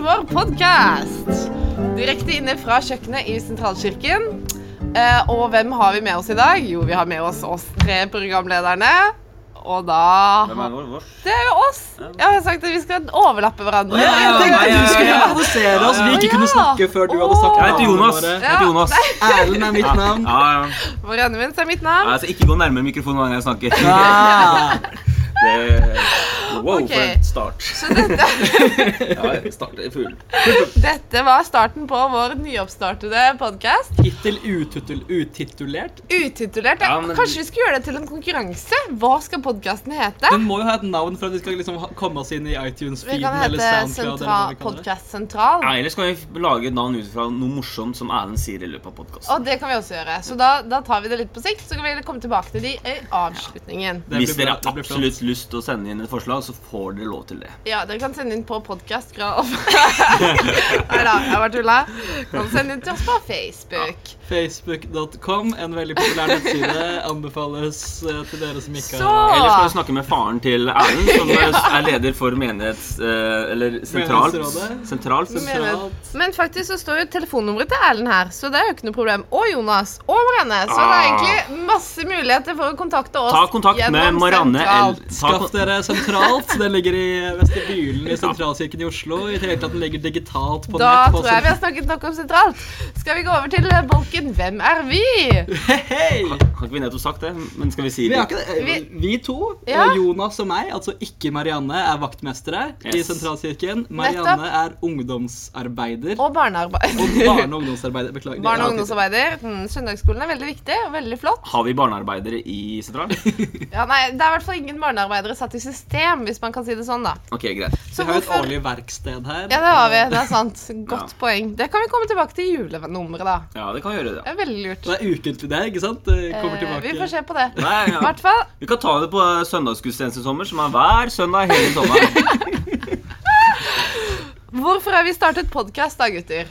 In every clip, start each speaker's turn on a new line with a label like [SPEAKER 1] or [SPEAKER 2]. [SPEAKER 1] vår podkast. Direkte inne fra kjøkkenet i Sentralkirken. Eh, og hvem har vi med oss i dag? Jo, vi har med oss oss tre programlederne. Og da
[SPEAKER 2] Hvem er vår? Vårs?
[SPEAKER 1] Det er jo oss! Jeg har sagt at vi skal overlappe hverandre.
[SPEAKER 3] Ja, jeg tenkte
[SPEAKER 2] ja,
[SPEAKER 3] du
[SPEAKER 2] ja,
[SPEAKER 3] skulle
[SPEAKER 2] ja.
[SPEAKER 3] introdusere oss. Vi ikke kunne
[SPEAKER 1] Ja.
[SPEAKER 3] snakke før du hadde sagt
[SPEAKER 1] Åh.
[SPEAKER 2] Jeg heter Jonas.
[SPEAKER 3] navnet
[SPEAKER 2] Jeg heter Jonas.
[SPEAKER 3] vårt. Erlend er mitt navn.
[SPEAKER 2] Ja, ja.
[SPEAKER 1] Vår Annemund er mitt navn.
[SPEAKER 2] Altså, ikke gå nærmere mikrofonen hver gang jeg snakker.
[SPEAKER 3] Ah.
[SPEAKER 2] Det, wow,
[SPEAKER 1] Ok.
[SPEAKER 2] for en start.
[SPEAKER 1] Så dette,
[SPEAKER 2] Ja, start i fugl.
[SPEAKER 1] dette var starten på vår nyoppstartede podkast.
[SPEAKER 3] Hittil utittul- utitulert.
[SPEAKER 1] Utitulert.
[SPEAKER 2] Ja, men-
[SPEAKER 1] Kanskje vi skulle gjøre det til en konkurranse? Hva skal podkasten hete?
[SPEAKER 3] Den må jo ha et navn for at vi skal liksom ha- komme oss inn i
[SPEAKER 1] Vi
[SPEAKER 3] iTunes-feeden
[SPEAKER 1] kan
[SPEAKER 3] eller
[SPEAKER 1] hete
[SPEAKER 3] SoundCloud. Eller hva
[SPEAKER 1] Sentra-
[SPEAKER 3] vi kaller det.
[SPEAKER 1] Podcast Sentral.
[SPEAKER 2] Ja, ellers kan vi lage et navn ut fra noe morsomt som Erlend sier i løpet av podkasten.
[SPEAKER 1] Og det kan vi også gjøre. Så da, da tar vi det litt på sikt, så kan vi komme tilbake til de i avslutningen.
[SPEAKER 3] Det
[SPEAKER 2] Hvis
[SPEAKER 3] blir
[SPEAKER 2] dere har
[SPEAKER 3] bra, det blir flott.
[SPEAKER 2] absolutt lyst til å sende inn et forslag, så får dere lov til det.
[SPEAKER 1] Ja, dere kan sende inn på podkast fra Nei da, jeg bare tulla. Kan sende inn til oss på Facebook.
[SPEAKER 3] Facebook.com, en veldig populær nettside, anbefales eh, til dere som ikke
[SPEAKER 1] Så-
[SPEAKER 3] har
[SPEAKER 2] Ellers kan vi snakke med faren til Erlend, som er er leder for menighets... eh, Eller sentralt.
[SPEAKER 3] Menighetsrådet.
[SPEAKER 2] sentralt.
[SPEAKER 1] Men-
[SPEAKER 3] Sentralt.
[SPEAKER 1] Men faktisk så står jo telefonnummeret til Erlend her, så det er jo ikke noe problem. Og Jonas. Og Marianne. Så det er egentlig masse muligheter for å kontakte oss
[SPEAKER 2] Ah. Ta kontakt med
[SPEAKER 1] gjennom
[SPEAKER 2] Marianne L.
[SPEAKER 1] Sentralt.
[SPEAKER 2] Ta
[SPEAKER 3] Skaff
[SPEAKER 2] kon-
[SPEAKER 3] dere sentralt. Den ligger i Vestre Bylen i Sentralkirken i Oslo. I tillegg til at den ligger digitalt på
[SPEAKER 1] Da
[SPEAKER 3] nett. på
[SPEAKER 1] tror jeg vi har snakket nok om sentralt. Skal vi gå over til eh, bolken Hvem er vi?
[SPEAKER 3] sent- Hei!
[SPEAKER 2] Har ikke vi nettopp sagt det? Men skal vi si
[SPEAKER 3] Vi,
[SPEAKER 2] det?
[SPEAKER 3] har ikke det.
[SPEAKER 1] Vi-
[SPEAKER 3] vi to,
[SPEAKER 1] Ja.
[SPEAKER 3] eh, Jonas og meg, altså ikke Marianne, er vaktmestere i
[SPEAKER 2] Yes.
[SPEAKER 3] Sentralkirken. Marianne er ungdomsarbeider.
[SPEAKER 1] Og barnearbeid.
[SPEAKER 3] Og barne- og ungdomsarbeider. Beklager.
[SPEAKER 1] Barne- og
[SPEAKER 3] Ja, det-
[SPEAKER 1] ungdomsarbeider. Mm, søndagsskolen er veldig viktig og veldig flott.
[SPEAKER 2] Har vi barnearbeidere i sentral?
[SPEAKER 1] Ja, nei, Det er i hvert fall ingen barnearbeidere satt i system, hvis man kan si det sånn, da.
[SPEAKER 2] Ok, greit.
[SPEAKER 1] Så
[SPEAKER 3] Vi har jo et
[SPEAKER 1] hvorfor-
[SPEAKER 3] årlig verksted her.
[SPEAKER 1] Ja, det har vi. Det er sant. Godt
[SPEAKER 2] Ja.
[SPEAKER 1] poeng. Det kan vi komme tilbake til i julenummeret, da.
[SPEAKER 2] Ja, det kan gjøre det.
[SPEAKER 1] Det er veldig lurt.
[SPEAKER 3] Det er ukentlig det, ikke sant? Det kommer
[SPEAKER 1] Eh,
[SPEAKER 3] tilbake.
[SPEAKER 1] vi får se på det.
[SPEAKER 2] Nei,
[SPEAKER 1] I
[SPEAKER 2] ja.
[SPEAKER 1] hvert fall.
[SPEAKER 2] Vi kan ta det på eh, søndagsgudstjeneste i sommer, som er hver søndag hele sommeren.
[SPEAKER 1] Hvorfor har vi startet podkast, da, gutter?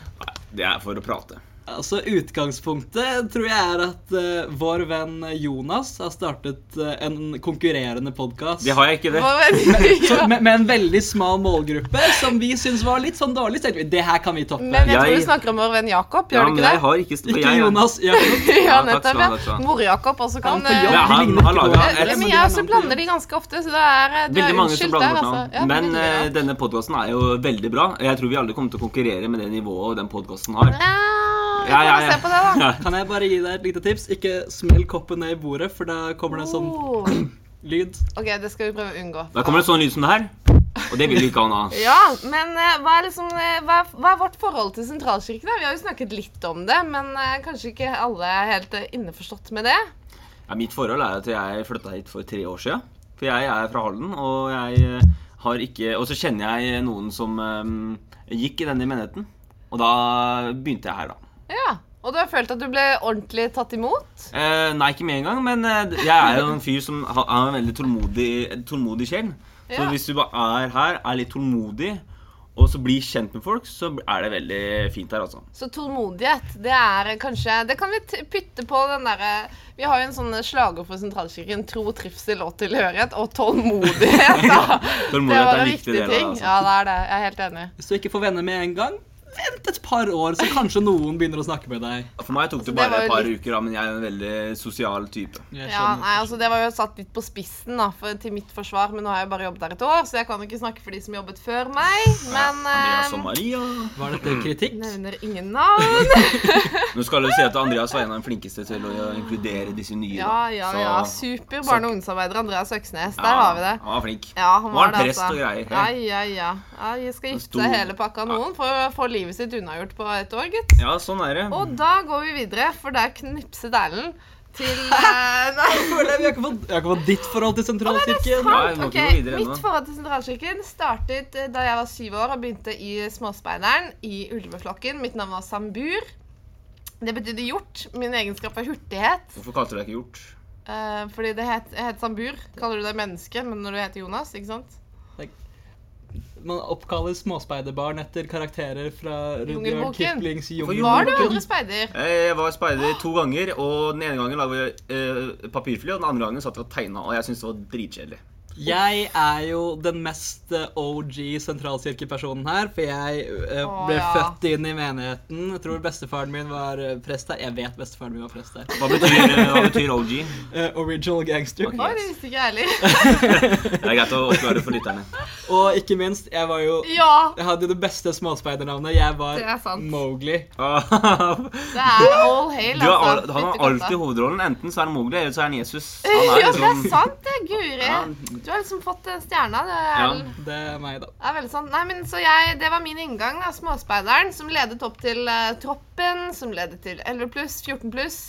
[SPEAKER 2] Det er for å prate.
[SPEAKER 3] Altså, Utgangspunktet tror jeg er at eh, vår venn Jonas har startet eh, en konkurrerende podkast.
[SPEAKER 2] Det har jeg ikke, det.
[SPEAKER 1] Hvor-
[SPEAKER 3] Med, med en veldig smal målgruppe, som vi syns var litt sånn dårlig. Så tenkte vi, Det her kan vi toppe.
[SPEAKER 1] Men jeg tror
[SPEAKER 2] Jeg-
[SPEAKER 1] du snakker om vår venn Jakob, gjør
[SPEAKER 2] Ja,
[SPEAKER 1] du
[SPEAKER 2] men
[SPEAKER 1] ikke
[SPEAKER 2] jeg
[SPEAKER 1] det?
[SPEAKER 2] har ikke
[SPEAKER 3] Ikke
[SPEAKER 2] jeg-
[SPEAKER 3] Jonas. Jakob.
[SPEAKER 1] Ja,
[SPEAKER 2] Ja, takk skal
[SPEAKER 1] nettopp.
[SPEAKER 2] du ha, takk skal
[SPEAKER 1] ja.
[SPEAKER 2] du ha.
[SPEAKER 1] Mor-Jakob også
[SPEAKER 3] Han
[SPEAKER 1] kan eh,
[SPEAKER 3] på jobb
[SPEAKER 2] Ja, han-
[SPEAKER 3] ligner
[SPEAKER 2] han
[SPEAKER 3] ikke på
[SPEAKER 2] lager-
[SPEAKER 3] hverandre,
[SPEAKER 1] Eller,
[SPEAKER 2] Eller,
[SPEAKER 1] men
[SPEAKER 3] men det er
[SPEAKER 1] jeg
[SPEAKER 3] en
[SPEAKER 1] så
[SPEAKER 3] annen
[SPEAKER 1] blander
[SPEAKER 3] ting.
[SPEAKER 1] de ganske ofte, så det er du
[SPEAKER 2] Veldig
[SPEAKER 1] er
[SPEAKER 2] mange som
[SPEAKER 1] unnskyldt der,
[SPEAKER 2] blander
[SPEAKER 1] altså. Ja,
[SPEAKER 2] navn.
[SPEAKER 1] det er
[SPEAKER 2] Men
[SPEAKER 1] veldig
[SPEAKER 2] eh,
[SPEAKER 1] bra.
[SPEAKER 2] denne podkasten er jo veldig bra. Jeg tror vi alle kommer til å konkurrere med det nivået den podkasten har.
[SPEAKER 1] Ja, vi får se på det, da.
[SPEAKER 2] Ja.
[SPEAKER 3] Kan jeg bare gi deg et lite tips? Ikke smell koppen ned i bordet, for da kommer det en sånn
[SPEAKER 1] Oh.
[SPEAKER 3] lyd.
[SPEAKER 1] Ok, det skal vi prøve å unngå.
[SPEAKER 2] Da kommer det en sånn lyd som det her, og det vil vi ikke ha nå.
[SPEAKER 1] Ja, men eh, hva er, liksom, eh, hva, er, hva er vårt forhold til sentralkirken? da? Vi har jo snakket litt om det, men eh, kanskje ikke alle er helt eh, innforstått med det.
[SPEAKER 2] Ja, mitt forhold er at jeg flytta hit for tre år siden. For jeg er fra Halden, og jeg eh, har ikke Og så kjenner jeg noen som eh, gikk i denne menigheten. Og da begynte jeg her, da.
[SPEAKER 1] Ja, Og du har følt at du ble ordentlig tatt imot?
[SPEAKER 2] Eh, nei, ikke med en gang, men eh, jeg er jo en fyr som har har en veldig tålmodig, en tålmodig sjel. Så
[SPEAKER 1] Ja.
[SPEAKER 2] hvis du bare er her, er litt tålmodig, og så blir kjent med folk, så er det veldig fint her, altså.
[SPEAKER 1] Så tålmodighet, det er eh, kanskje Det kan vi t pytte på den derre Vi har jo en sånn slager for sentralkirken. Tro, trivsel og tilhørighet. Og tålmodighet, da.
[SPEAKER 2] Tålmodighet
[SPEAKER 1] det var
[SPEAKER 2] er en
[SPEAKER 1] en
[SPEAKER 2] viktig
[SPEAKER 1] viktig
[SPEAKER 2] del av det,
[SPEAKER 1] ting.
[SPEAKER 2] altså.
[SPEAKER 1] Ja, det er det. Jeg er helt enig.
[SPEAKER 3] Hvis du ikke får venner med en gang, vent et par år, så kanskje noen begynner å snakke med deg.
[SPEAKER 2] For meg tok
[SPEAKER 1] Altså, det
[SPEAKER 2] det bare
[SPEAKER 1] var jo
[SPEAKER 2] et par uker, da, men jeg er en veldig sosial type.
[SPEAKER 1] Ja,
[SPEAKER 3] Jeg skjønner.
[SPEAKER 1] nei, altså Det var jo satt litt på spissen da, for, til mitt forsvar, men nå har jeg bare jobbet der et år, så jeg kan jo ikke snakke for de som jobbet før meg. Men
[SPEAKER 2] Andreas og
[SPEAKER 1] eh,
[SPEAKER 2] Maria.
[SPEAKER 3] Var dette kritikk?
[SPEAKER 1] nevner ingen navn.
[SPEAKER 2] Nå skal du si at Andreas var en av de flinkeste til å inkludere disse nye.
[SPEAKER 1] Ja, ja,
[SPEAKER 2] så-
[SPEAKER 1] ja. Super barne- og ungdomsarbeider Andreas Øksnes.
[SPEAKER 2] Ja,
[SPEAKER 1] Der har vi det.
[SPEAKER 2] Han var flink.
[SPEAKER 1] Ja, han
[SPEAKER 2] Var
[SPEAKER 1] var
[SPEAKER 2] han
[SPEAKER 1] det,
[SPEAKER 2] prest
[SPEAKER 1] altså.
[SPEAKER 2] og greier?
[SPEAKER 1] Ja, ja, ja. ja jeg skal gifte
[SPEAKER 2] stor-
[SPEAKER 1] seg hele pakka noen for å få livet sitt unnagjort på et år, gitt.
[SPEAKER 2] Ja, sånn er det.
[SPEAKER 1] Og da går vi videre, for der knipset Erlend til eh, Nei.
[SPEAKER 3] Jeg føler jeg- Jeg har ikke fått- jeg har ikke fått ditt forhold til sentralkirken.
[SPEAKER 2] Nei, vi må
[SPEAKER 1] Ok,
[SPEAKER 2] ikke gå videre ennå.
[SPEAKER 1] Mitt forhold til sentralkirken startet eh, da jeg var syv år og begynte i Småspeideren i ulveflokken. Mitt navn var Sambur. Det betydde hjort. Min egenskap var hurtighet.
[SPEAKER 2] Hvorfor kalte du deg ikke hjort?
[SPEAKER 1] eh, fordi det het, jeg het Sambur. Kaller du deg menneske, men når du heter Jonas, ikke sant?
[SPEAKER 3] Man oppkaller småspeiderbarn etter karakterer fra Rudyard
[SPEAKER 1] Jungelboken.
[SPEAKER 3] Kiplings
[SPEAKER 1] Var du
[SPEAKER 3] Jungelboken.
[SPEAKER 1] aldri speider?
[SPEAKER 2] Jeg var speider to ganger, og den ene gangen laga vi eh, papirfly, og den andre gangen satt vi og tegna, og jeg syntes det var dritkjedelig.
[SPEAKER 3] Jeg er jo den mest eh, OG sentralkirkepersonen her, for jeg eh,
[SPEAKER 1] Å,
[SPEAKER 3] ble
[SPEAKER 1] ja.
[SPEAKER 3] født inn i menigheten. Jeg tror bestefaren min var eh, prest her. Jeg vet bestefaren min var prest her.
[SPEAKER 2] Hva betyr, hva betyr OG?
[SPEAKER 3] Eh, original gangster.
[SPEAKER 1] Oi, det visste ikke jeg heller.
[SPEAKER 2] Det er greit å oppklare for lytterne.
[SPEAKER 3] Og ikke minst, jeg var jo
[SPEAKER 1] Ja,
[SPEAKER 3] Jeg hadde det beste småspeidernavnet. Jeg
[SPEAKER 1] det
[SPEAKER 3] var
[SPEAKER 1] er sant.
[SPEAKER 3] Mowgli.
[SPEAKER 2] Du
[SPEAKER 1] Det er all hail,
[SPEAKER 2] har,
[SPEAKER 1] altså.
[SPEAKER 2] al- han har
[SPEAKER 1] Fytti katta.
[SPEAKER 2] alltid hovedrollen. Enten så er han Mowgli, eller så er han Jesus. Han er
[SPEAKER 1] Ja, det er
[SPEAKER 2] liksom
[SPEAKER 1] sant, det, Guri.
[SPEAKER 2] Ja.
[SPEAKER 1] Du har liksom fått eh, stjerna. Det er
[SPEAKER 2] Ja.
[SPEAKER 1] vel-
[SPEAKER 3] Det er meg, da.
[SPEAKER 1] Det er veldig sant. Nei, men så jeg, Det var min inngang, da. Småspeideren, som ledet opp til eh, Troppen, som ledet til 11 pluss, 14 pluss.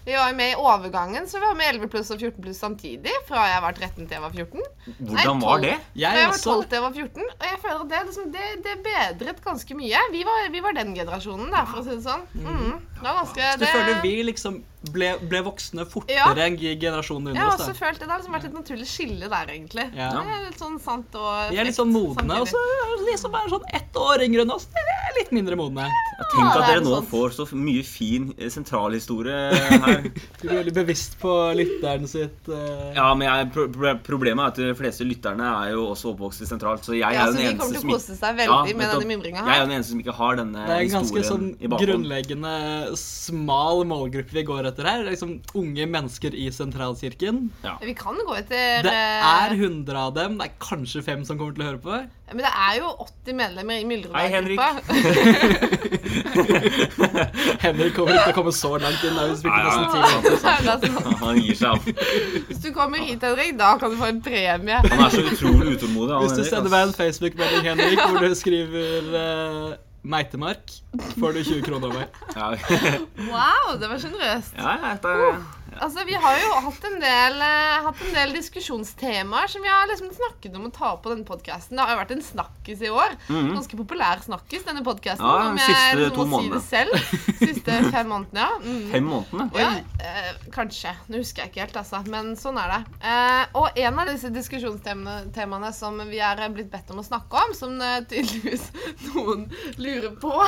[SPEAKER 1] Vi var jo med i overgangen, så vi var med 11 pluss og 14 pluss samtidig. Fra jeg var 13 til jeg var 14.
[SPEAKER 2] Hvordan var det?
[SPEAKER 1] Fra
[SPEAKER 3] Jeg
[SPEAKER 1] jeg var 12
[SPEAKER 3] også.
[SPEAKER 1] til jeg var 14. Og jeg føler at det, liksom, det, det bedret ganske mye. Vi var, vi var den generasjonen, da, for å si det sånn. Mm. Det var ganske
[SPEAKER 3] Du føler vi liksom ble, ble voksne
[SPEAKER 1] Ja.
[SPEAKER 3] fortere enn generasjonen
[SPEAKER 1] Jeg har
[SPEAKER 3] under
[SPEAKER 1] også
[SPEAKER 3] oss? da.
[SPEAKER 1] følt det. Det har liksom vært et naturlig skille der, egentlig.
[SPEAKER 3] Ja.
[SPEAKER 1] Det er litt sånn sant og
[SPEAKER 3] Vi er litt sånn
[SPEAKER 1] frekt
[SPEAKER 3] modne,
[SPEAKER 1] samtidig.
[SPEAKER 3] og så er de som er sånn ett år yngre enn oss, de er litt mindre modne.
[SPEAKER 2] Jeg tenker
[SPEAKER 1] Ja,
[SPEAKER 2] at
[SPEAKER 1] det er
[SPEAKER 2] dere nå
[SPEAKER 1] sant.
[SPEAKER 2] får så mye fin eh, sentralhistorie her.
[SPEAKER 3] Du blir veldig bevisst på lytteren sitt. eh,
[SPEAKER 2] Ja, men jeg, pro pro- Problemet er at de fleste lytterne er jo også oppvokst i sentralt, så jeg
[SPEAKER 1] Ja,
[SPEAKER 2] er
[SPEAKER 1] så
[SPEAKER 2] jo den
[SPEAKER 1] de
[SPEAKER 2] eneste
[SPEAKER 1] kommer
[SPEAKER 2] som
[SPEAKER 1] til å
[SPEAKER 2] ikke
[SPEAKER 1] kose seg veldig
[SPEAKER 2] Ja,
[SPEAKER 1] med
[SPEAKER 2] nettopp.
[SPEAKER 1] denne mimringa
[SPEAKER 2] Jeg er
[SPEAKER 1] her.
[SPEAKER 2] jo den eneste som ikke har denne
[SPEAKER 3] Det er en ganske
[SPEAKER 2] historien
[SPEAKER 3] sånn
[SPEAKER 2] i bakhånd.
[SPEAKER 3] grunnleggende smal målgruppe vi går etter her. Det er Liksom unge mennesker i sentralkirken.
[SPEAKER 1] Vi kan gå etter
[SPEAKER 3] Det er
[SPEAKER 1] eh,
[SPEAKER 3] 100 av dem. Det er kanskje fem som kommer til å høre på.
[SPEAKER 1] Men det er jo 80 medlemmer i
[SPEAKER 2] Hei, Henrik.
[SPEAKER 1] Myldreberg-gruppa.
[SPEAKER 3] Henrik kommer ikke til å komme så langt inn. da vi
[SPEAKER 2] Nei, nei,
[SPEAKER 3] spilte nesten
[SPEAKER 2] nei.
[SPEAKER 3] ti
[SPEAKER 2] sant,
[SPEAKER 3] minutter.
[SPEAKER 2] sant,
[SPEAKER 1] Hvis
[SPEAKER 2] Han gir seg av.
[SPEAKER 1] altså- du kommer hit, Henrik, da kan du få en premie.
[SPEAKER 2] Han er så utrolig utålmodig. han
[SPEAKER 3] Hvis du
[SPEAKER 2] Henrik,
[SPEAKER 3] sender
[SPEAKER 2] ass.
[SPEAKER 3] meg en Facebook-melding, Henrik, hvor du skriver eh, Meitemark, får du 20 kroner av meg.
[SPEAKER 2] Ja,
[SPEAKER 1] Wow, det var sjenerøst.
[SPEAKER 2] ja, ja, det-
[SPEAKER 1] Altså, vi har jo hatt en del, eh, hatt en del diskusjonstemaer som vi har liksom snakket om å ta opp på denne podkasten. Det har jo vært en snakkis i år.
[SPEAKER 2] Mhm.
[SPEAKER 1] Ganske populær snakkis, denne podkasten.
[SPEAKER 2] Ja,
[SPEAKER 1] om
[SPEAKER 2] de
[SPEAKER 1] jeg
[SPEAKER 2] siste
[SPEAKER 1] liksom
[SPEAKER 2] to
[SPEAKER 1] må si det selv. Siste fem månedene, ja. Mhm.
[SPEAKER 2] Fem månedene.
[SPEAKER 1] Ja, eh, kanskje. Nå husker jeg ikke helt, altså. Men sånn er det. Eh, og en av disse diskusjonstemaene temaene som vi er blitt bedt om å snakke om, som eh, tydeligvis noen lurer på,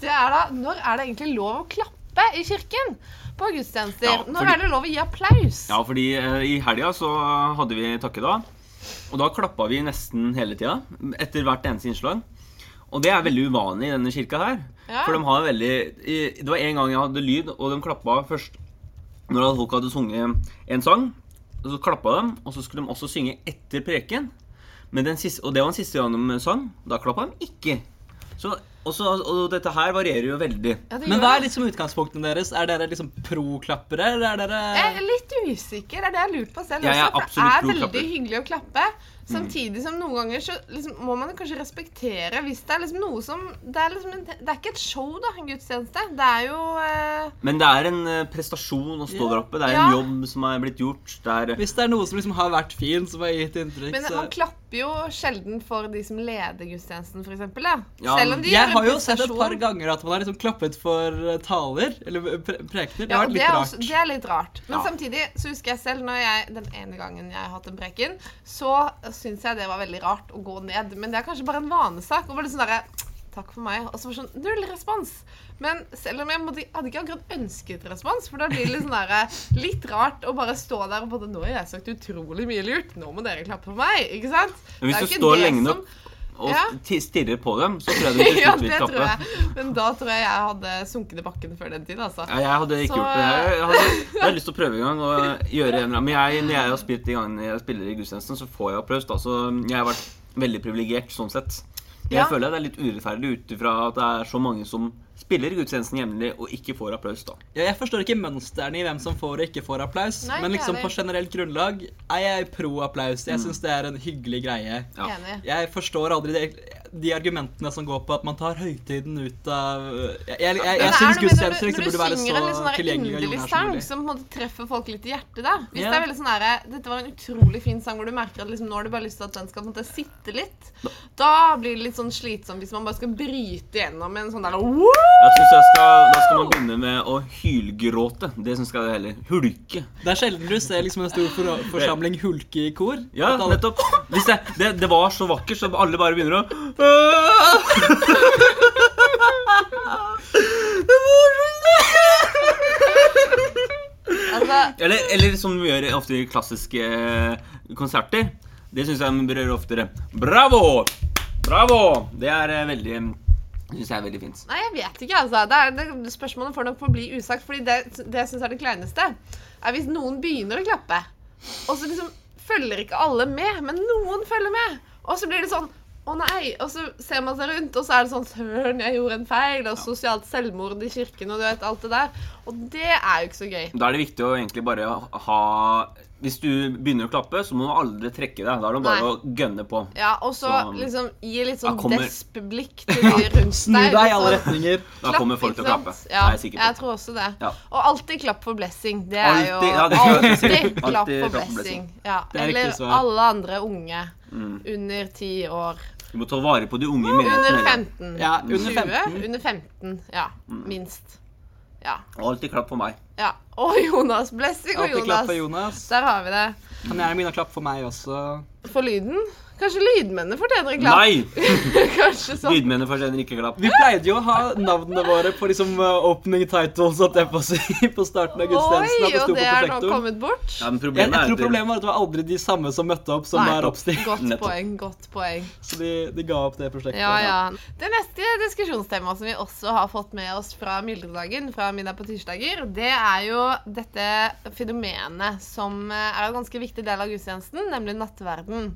[SPEAKER 1] det er da når er det egentlig lov å klappe i kirken på gudstjenester?
[SPEAKER 2] Ja,
[SPEAKER 1] Når
[SPEAKER 2] fordi-
[SPEAKER 1] er det lov å gi applaus?
[SPEAKER 2] Ja, fordi eh, i helga så hadde vi takkedag, og da klappa vi nesten hele tida. Etter hvert eneste innslag. Og det er veldig uvanlig i denne kirka her.
[SPEAKER 1] Ja.
[SPEAKER 2] For de har veldig i- Det var en gang jeg hadde lyd, og de klappa først når folk hadde sunget en sang. Og så klappa de, og så skulle de også synge etter preken. Men den siste, og det var den siste gang de sang. Da klappa de ikke. Så, og, så, og dette her varierer jo veldig.
[SPEAKER 1] Ja, det
[SPEAKER 3] Men
[SPEAKER 1] gjør
[SPEAKER 3] hva er
[SPEAKER 1] det.
[SPEAKER 3] liksom utgangspunktene deres? Er dere liksom pro-klappere, eller er
[SPEAKER 1] Jeg
[SPEAKER 3] dere
[SPEAKER 1] er litt usikker, det er det jeg har lurt på selv
[SPEAKER 2] Jeg er
[SPEAKER 1] også. For det
[SPEAKER 2] absolutt Mm.
[SPEAKER 1] er veldig
[SPEAKER 2] pro-klapper.
[SPEAKER 1] hyggelig å klappe. Samtidig som noen ganger så liksom, må man kanskje respektere hvis det er liksom noe som Det er, liksom en, det er ikke et show, da, en gudstjeneste. Det er jo eh,
[SPEAKER 2] Men det er en eh, prestasjon å stå
[SPEAKER 3] Ja.
[SPEAKER 2] der oppe. Det er
[SPEAKER 1] Ja.
[SPEAKER 2] en jobb som er blitt gjort. Det er
[SPEAKER 3] Hvis det er noe som liksom har vært fint, som har gitt inntrykk,
[SPEAKER 1] Men
[SPEAKER 3] så
[SPEAKER 1] man klapper jo sjelden for de som leder gudstjenesten, for eksempel, da.
[SPEAKER 2] Ja,
[SPEAKER 1] Selv om de
[SPEAKER 3] Jeg
[SPEAKER 1] gjør en
[SPEAKER 3] har jo sett et
[SPEAKER 1] prestasjon.
[SPEAKER 3] par ganger at man har liksom klappet for eh, taler, eller pre prekener. Det
[SPEAKER 1] Ja,
[SPEAKER 3] har
[SPEAKER 1] og det,
[SPEAKER 3] vært litt
[SPEAKER 1] er
[SPEAKER 3] rart.
[SPEAKER 1] også, det er litt rart. Men
[SPEAKER 2] Ja.
[SPEAKER 1] samtidig så husker jeg selv når jeg, den ene gangen jeg har hatt en preken, så syns jeg det var veldig rart å gå ned. Men det er kanskje bare en vanesak. Og bare sånn derre Takk for meg. Og så var det sånn Null respons. Men selv om jeg måtte, hadde ikke akkurat ønsket respons, for da blir det litt sånn derre litt rart å bare stå der og bare Nå har jeg sagt utrolig mye lurt. Nå må dere klappe for meg. Ikke sant?
[SPEAKER 2] Men hvis
[SPEAKER 1] Det er
[SPEAKER 2] du
[SPEAKER 1] ikke
[SPEAKER 2] står
[SPEAKER 1] det
[SPEAKER 2] lenge
[SPEAKER 1] som-
[SPEAKER 2] nok og
[SPEAKER 1] Ja.
[SPEAKER 2] sti- stirrer på dem, så tror jeg du til
[SPEAKER 1] ja,
[SPEAKER 2] slutt vil
[SPEAKER 1] det tror
[SPEAKER 2] klappe.
[SPEAKER 1] jeg. Men da tror jeg jeg hadde sunket i bakken før den tid, altså.
[SPEAKER 2] Ja, jeg hadde ikke
[SPEAKER 1] Så,
[SPEAKER 2] gjort det. Jeg, jeg, hadde, jeg hadde lyst til å prøve en gang. Og gjøre en eller annen. Men jeg, når jeg har spilt de gangene jeg spiller i gudstjenesten, så får jeg applaus. da, Så jeg har vært veldig privilegert sånn sett. Men jeg
[SPEAKER 1] Ja.
[SPEAKER 2] føler at det er litt urettferdig ut ifra at det er så mange som spiller i gudstjenesten jevnlig og ikke får applaus, da.
[SPEAKER 3] Ja, jeg forstår ikke mønstrene i hvem som får og ikke får applaus,
[SPEAKER 1] Nei,
[SPEAKER 3] men
[SPEAKER 1] ikke
[SPEAKER 3] liksom på
[SPEAKER 1] heller. Mm.
[SPEAKER 3] generelt grunnlag er jeg pro applaus. Jeg syns det er en hyggelig greie.
[SPEAKER 2] Ja.
[SPEAKER 1] Enig.
[SPEAKER 3] Jeg forstår aldri de, de argumentene som går på at man tar høytiden ut av Jeg, jeg, jeg,
[SPEAKER 1] Men
[SPEAKER 3] jeg
[SPEAKER 1] det
[SPEAKER 3] syns
[SPEAKER 1] er noe med når
[SPEAKER 3] gudstjenester
[SPEAKER 1] du- når
[SPEAKER 3] liksom
[SPEAKER 1] du
[SPEAKER 3] burde være
[SPEAKER 1] synger en litt
[SPEAKER 3] så
[SPEAKER 1] sånn der
[SPEAKER 3] tilgjengelig og
[SPEAKER 1] inderlig
[SPEAKER 3] jordnær som
[SPEAKER 1] sang
[SPEAKER 3] mulig.
[SPEAKER 1] som på en måte treffer folk litt i hjertet, da. Hvis
[SPEAKER 3] Ja.
[SPEAKER 1] det er veldig sånn her, Dette var en utrolig fin sang hvor du merker at liksom, nå har du bare lyst til at den skal på en måte sitte litt. Da blir det litt sånn slitsomt hvis man bare skal bryte gjennom en sånn der Woo!
[SPEAKER 2] Jeg synes jeg skal, Da skal man begynne med å hylgråte. Det syns jeg det heller. Hulke.
[SPEAKER 3] Det er sjelden du ser liksom en stor for, forsamling hulke i kor.
[SPEAKER 2] Ja,
[SPEAKER 3] At alle-
[SPEAKER 2] nettopp. Hvis det, det, det var så vakkert, så alle bare begynner å Det var så
[SPEAKER 1] Altså,
[SPEAKER 2] Eller, eller som vi gjør ofte i klassiske eh, konserter, det syns jeg man bør gjøre oftere. Bravo! Bravo! Det er eh, veldig Syns jeg er veldig fint.
[SPEAKER 1] Nei, jeg vet ikke, altså. Det er, det, spørsmålet får nok forbli usagt, fordi det, det jeg syns er det kleineste, er hvis noen begynner å klappe, og så liksom følger ikke alle med, men noen følger med, og så blir det sånn å nei, Og så ser man seg rundt, og så er det sånn Søren, jeg gjorde en feil. Og sosialt selvmord i kirken, og du vet alt det der. Og det er jo ikke så gøy.
[SPEAKER 2] Da er det viktig å egentlig bare ha Hvis du begynner å klappe, så må du aldri trekke deg. Da er det bare
[SPEAKER 1] Nei.
[SPEAKER 2] å gønne på.
[SPEAKER 1] Ja, Og så
[SPEAKER 2] Så-
[SPEAKER 1] liksom gi litt sånn
[SPEAKER 2] Da kommer-
[SPEAKER 1] desp-blikk til de rundt deg.
[SPEAKER 3] Snu deg i alle
[SPEAKER 1] liksom.
[SPEAKER 3] retninger.
[SPEAKER 2] Da
[SPEAKER 1] Klapp,
[SPEAKER 2] kommer folk til å
[SPEAKER 1] ikke sant? Ja,
[SPEAKER 2] klappe. det er jeg sikker på.
[SPEAKER 1] tror også det.
[SPEAKER 2] Ja.
[SPEAKER 1] Og alltid klapp for blessing. Det er jo
[SPEAKER 2] Alltid- ja, det skal jeg si.
[SPEAKER 1] alltid
[SPEAKER 2] Alltid
[SPEAKER 1] klapp for
[SPEAKER 2] klapp for
[SPEAKER 1] blessing. Ja.
[SPEAKER 3] Det er
[SPEAKER 1] Eller
[SPEAKER 3] riktig svar.
[SPEAKER 1] alle andre unge
[SPEAKER 2] Mm.
[SPEAKER 1] under ti år.
[SPEAKER 2] Du må ta vare på de unge i menigheten.
[SPEAKER 1] Under
[SPEAKER 2] eller?
[SPEAKER 1] 15.
[SPEAKER 3] Ja, under
[SPEAKER 1] 20.
[SPEAKER 3] 15.
[SPEAKER 1] Under 15, ja.
[SPEAKER 2] Mm.
[SPEAKER 1] Minst. Ja.
[SPEAKER 2] Og alltid klapp for meg.
[SPEAKER 1] ja. Og Jonas. Blessing og
[SPEAKER 3] Alltid
[SPEAKER 1] Jonas.
[SPEAKER 3] klapp for Jonas.
[SPEAKER 1] Der har vi det.
[SPEAKER 3] Kan gjerne begynne å klappe for meg også.
[SPEAKER 1] For lyden. Kanskje lydmennene fortjener en klapp?
[SPEAKER 2] Nei!
[SPEAKER 1] Kanskje sånn.
[SPEAKER 2] Lydmennene fortjener ikke klapp.
[SPEAKER 3] Vi pleide jo å ha navnene våre på liksom uh, opening titles at det på, å si, på starten av
[SPEAKER 1] Oi,
[SPEAKER 3] gudstjenesten. at det
[SPEAKER 1] og
[SPEAKER 3] sto på
[SPEAKER 1] det er nå
[SPEAKER 3] prosjektoren.
[SPEAKER 1] kommet bort.
[SPEAKER 2] Ja, men sånn
[SPEAKER 3] Jeg,
[SPEAKER 2] problemet
[SPEAKER 3] jeg
[SPEAKER 2] er
[SPEAKER 3] tror
[SPEAKER 2] at det-
[SPEAKER 3] problemet var at det var aldri de samme som møtte opp, som
[SPEAKER 1] Nei.
[SPEAKER 3] er oppstilt.
[SPEAKER 1] Godt
[SPEAKER 2] Nettopp.
[SPEAKER 1] poeng. Godt poeng.
[SPEAKER 3] Så de, de ga opp det prosjektet.
[SPEAKER 1] Ja, ja. Det neste diskusjonstemaet som vi også har fått med oss fra myldredagen, fra middag på tirsdager, det er jo dette fenomenet som eh, er en ganske viktig del av gudstjenesten, nemlig nattverden.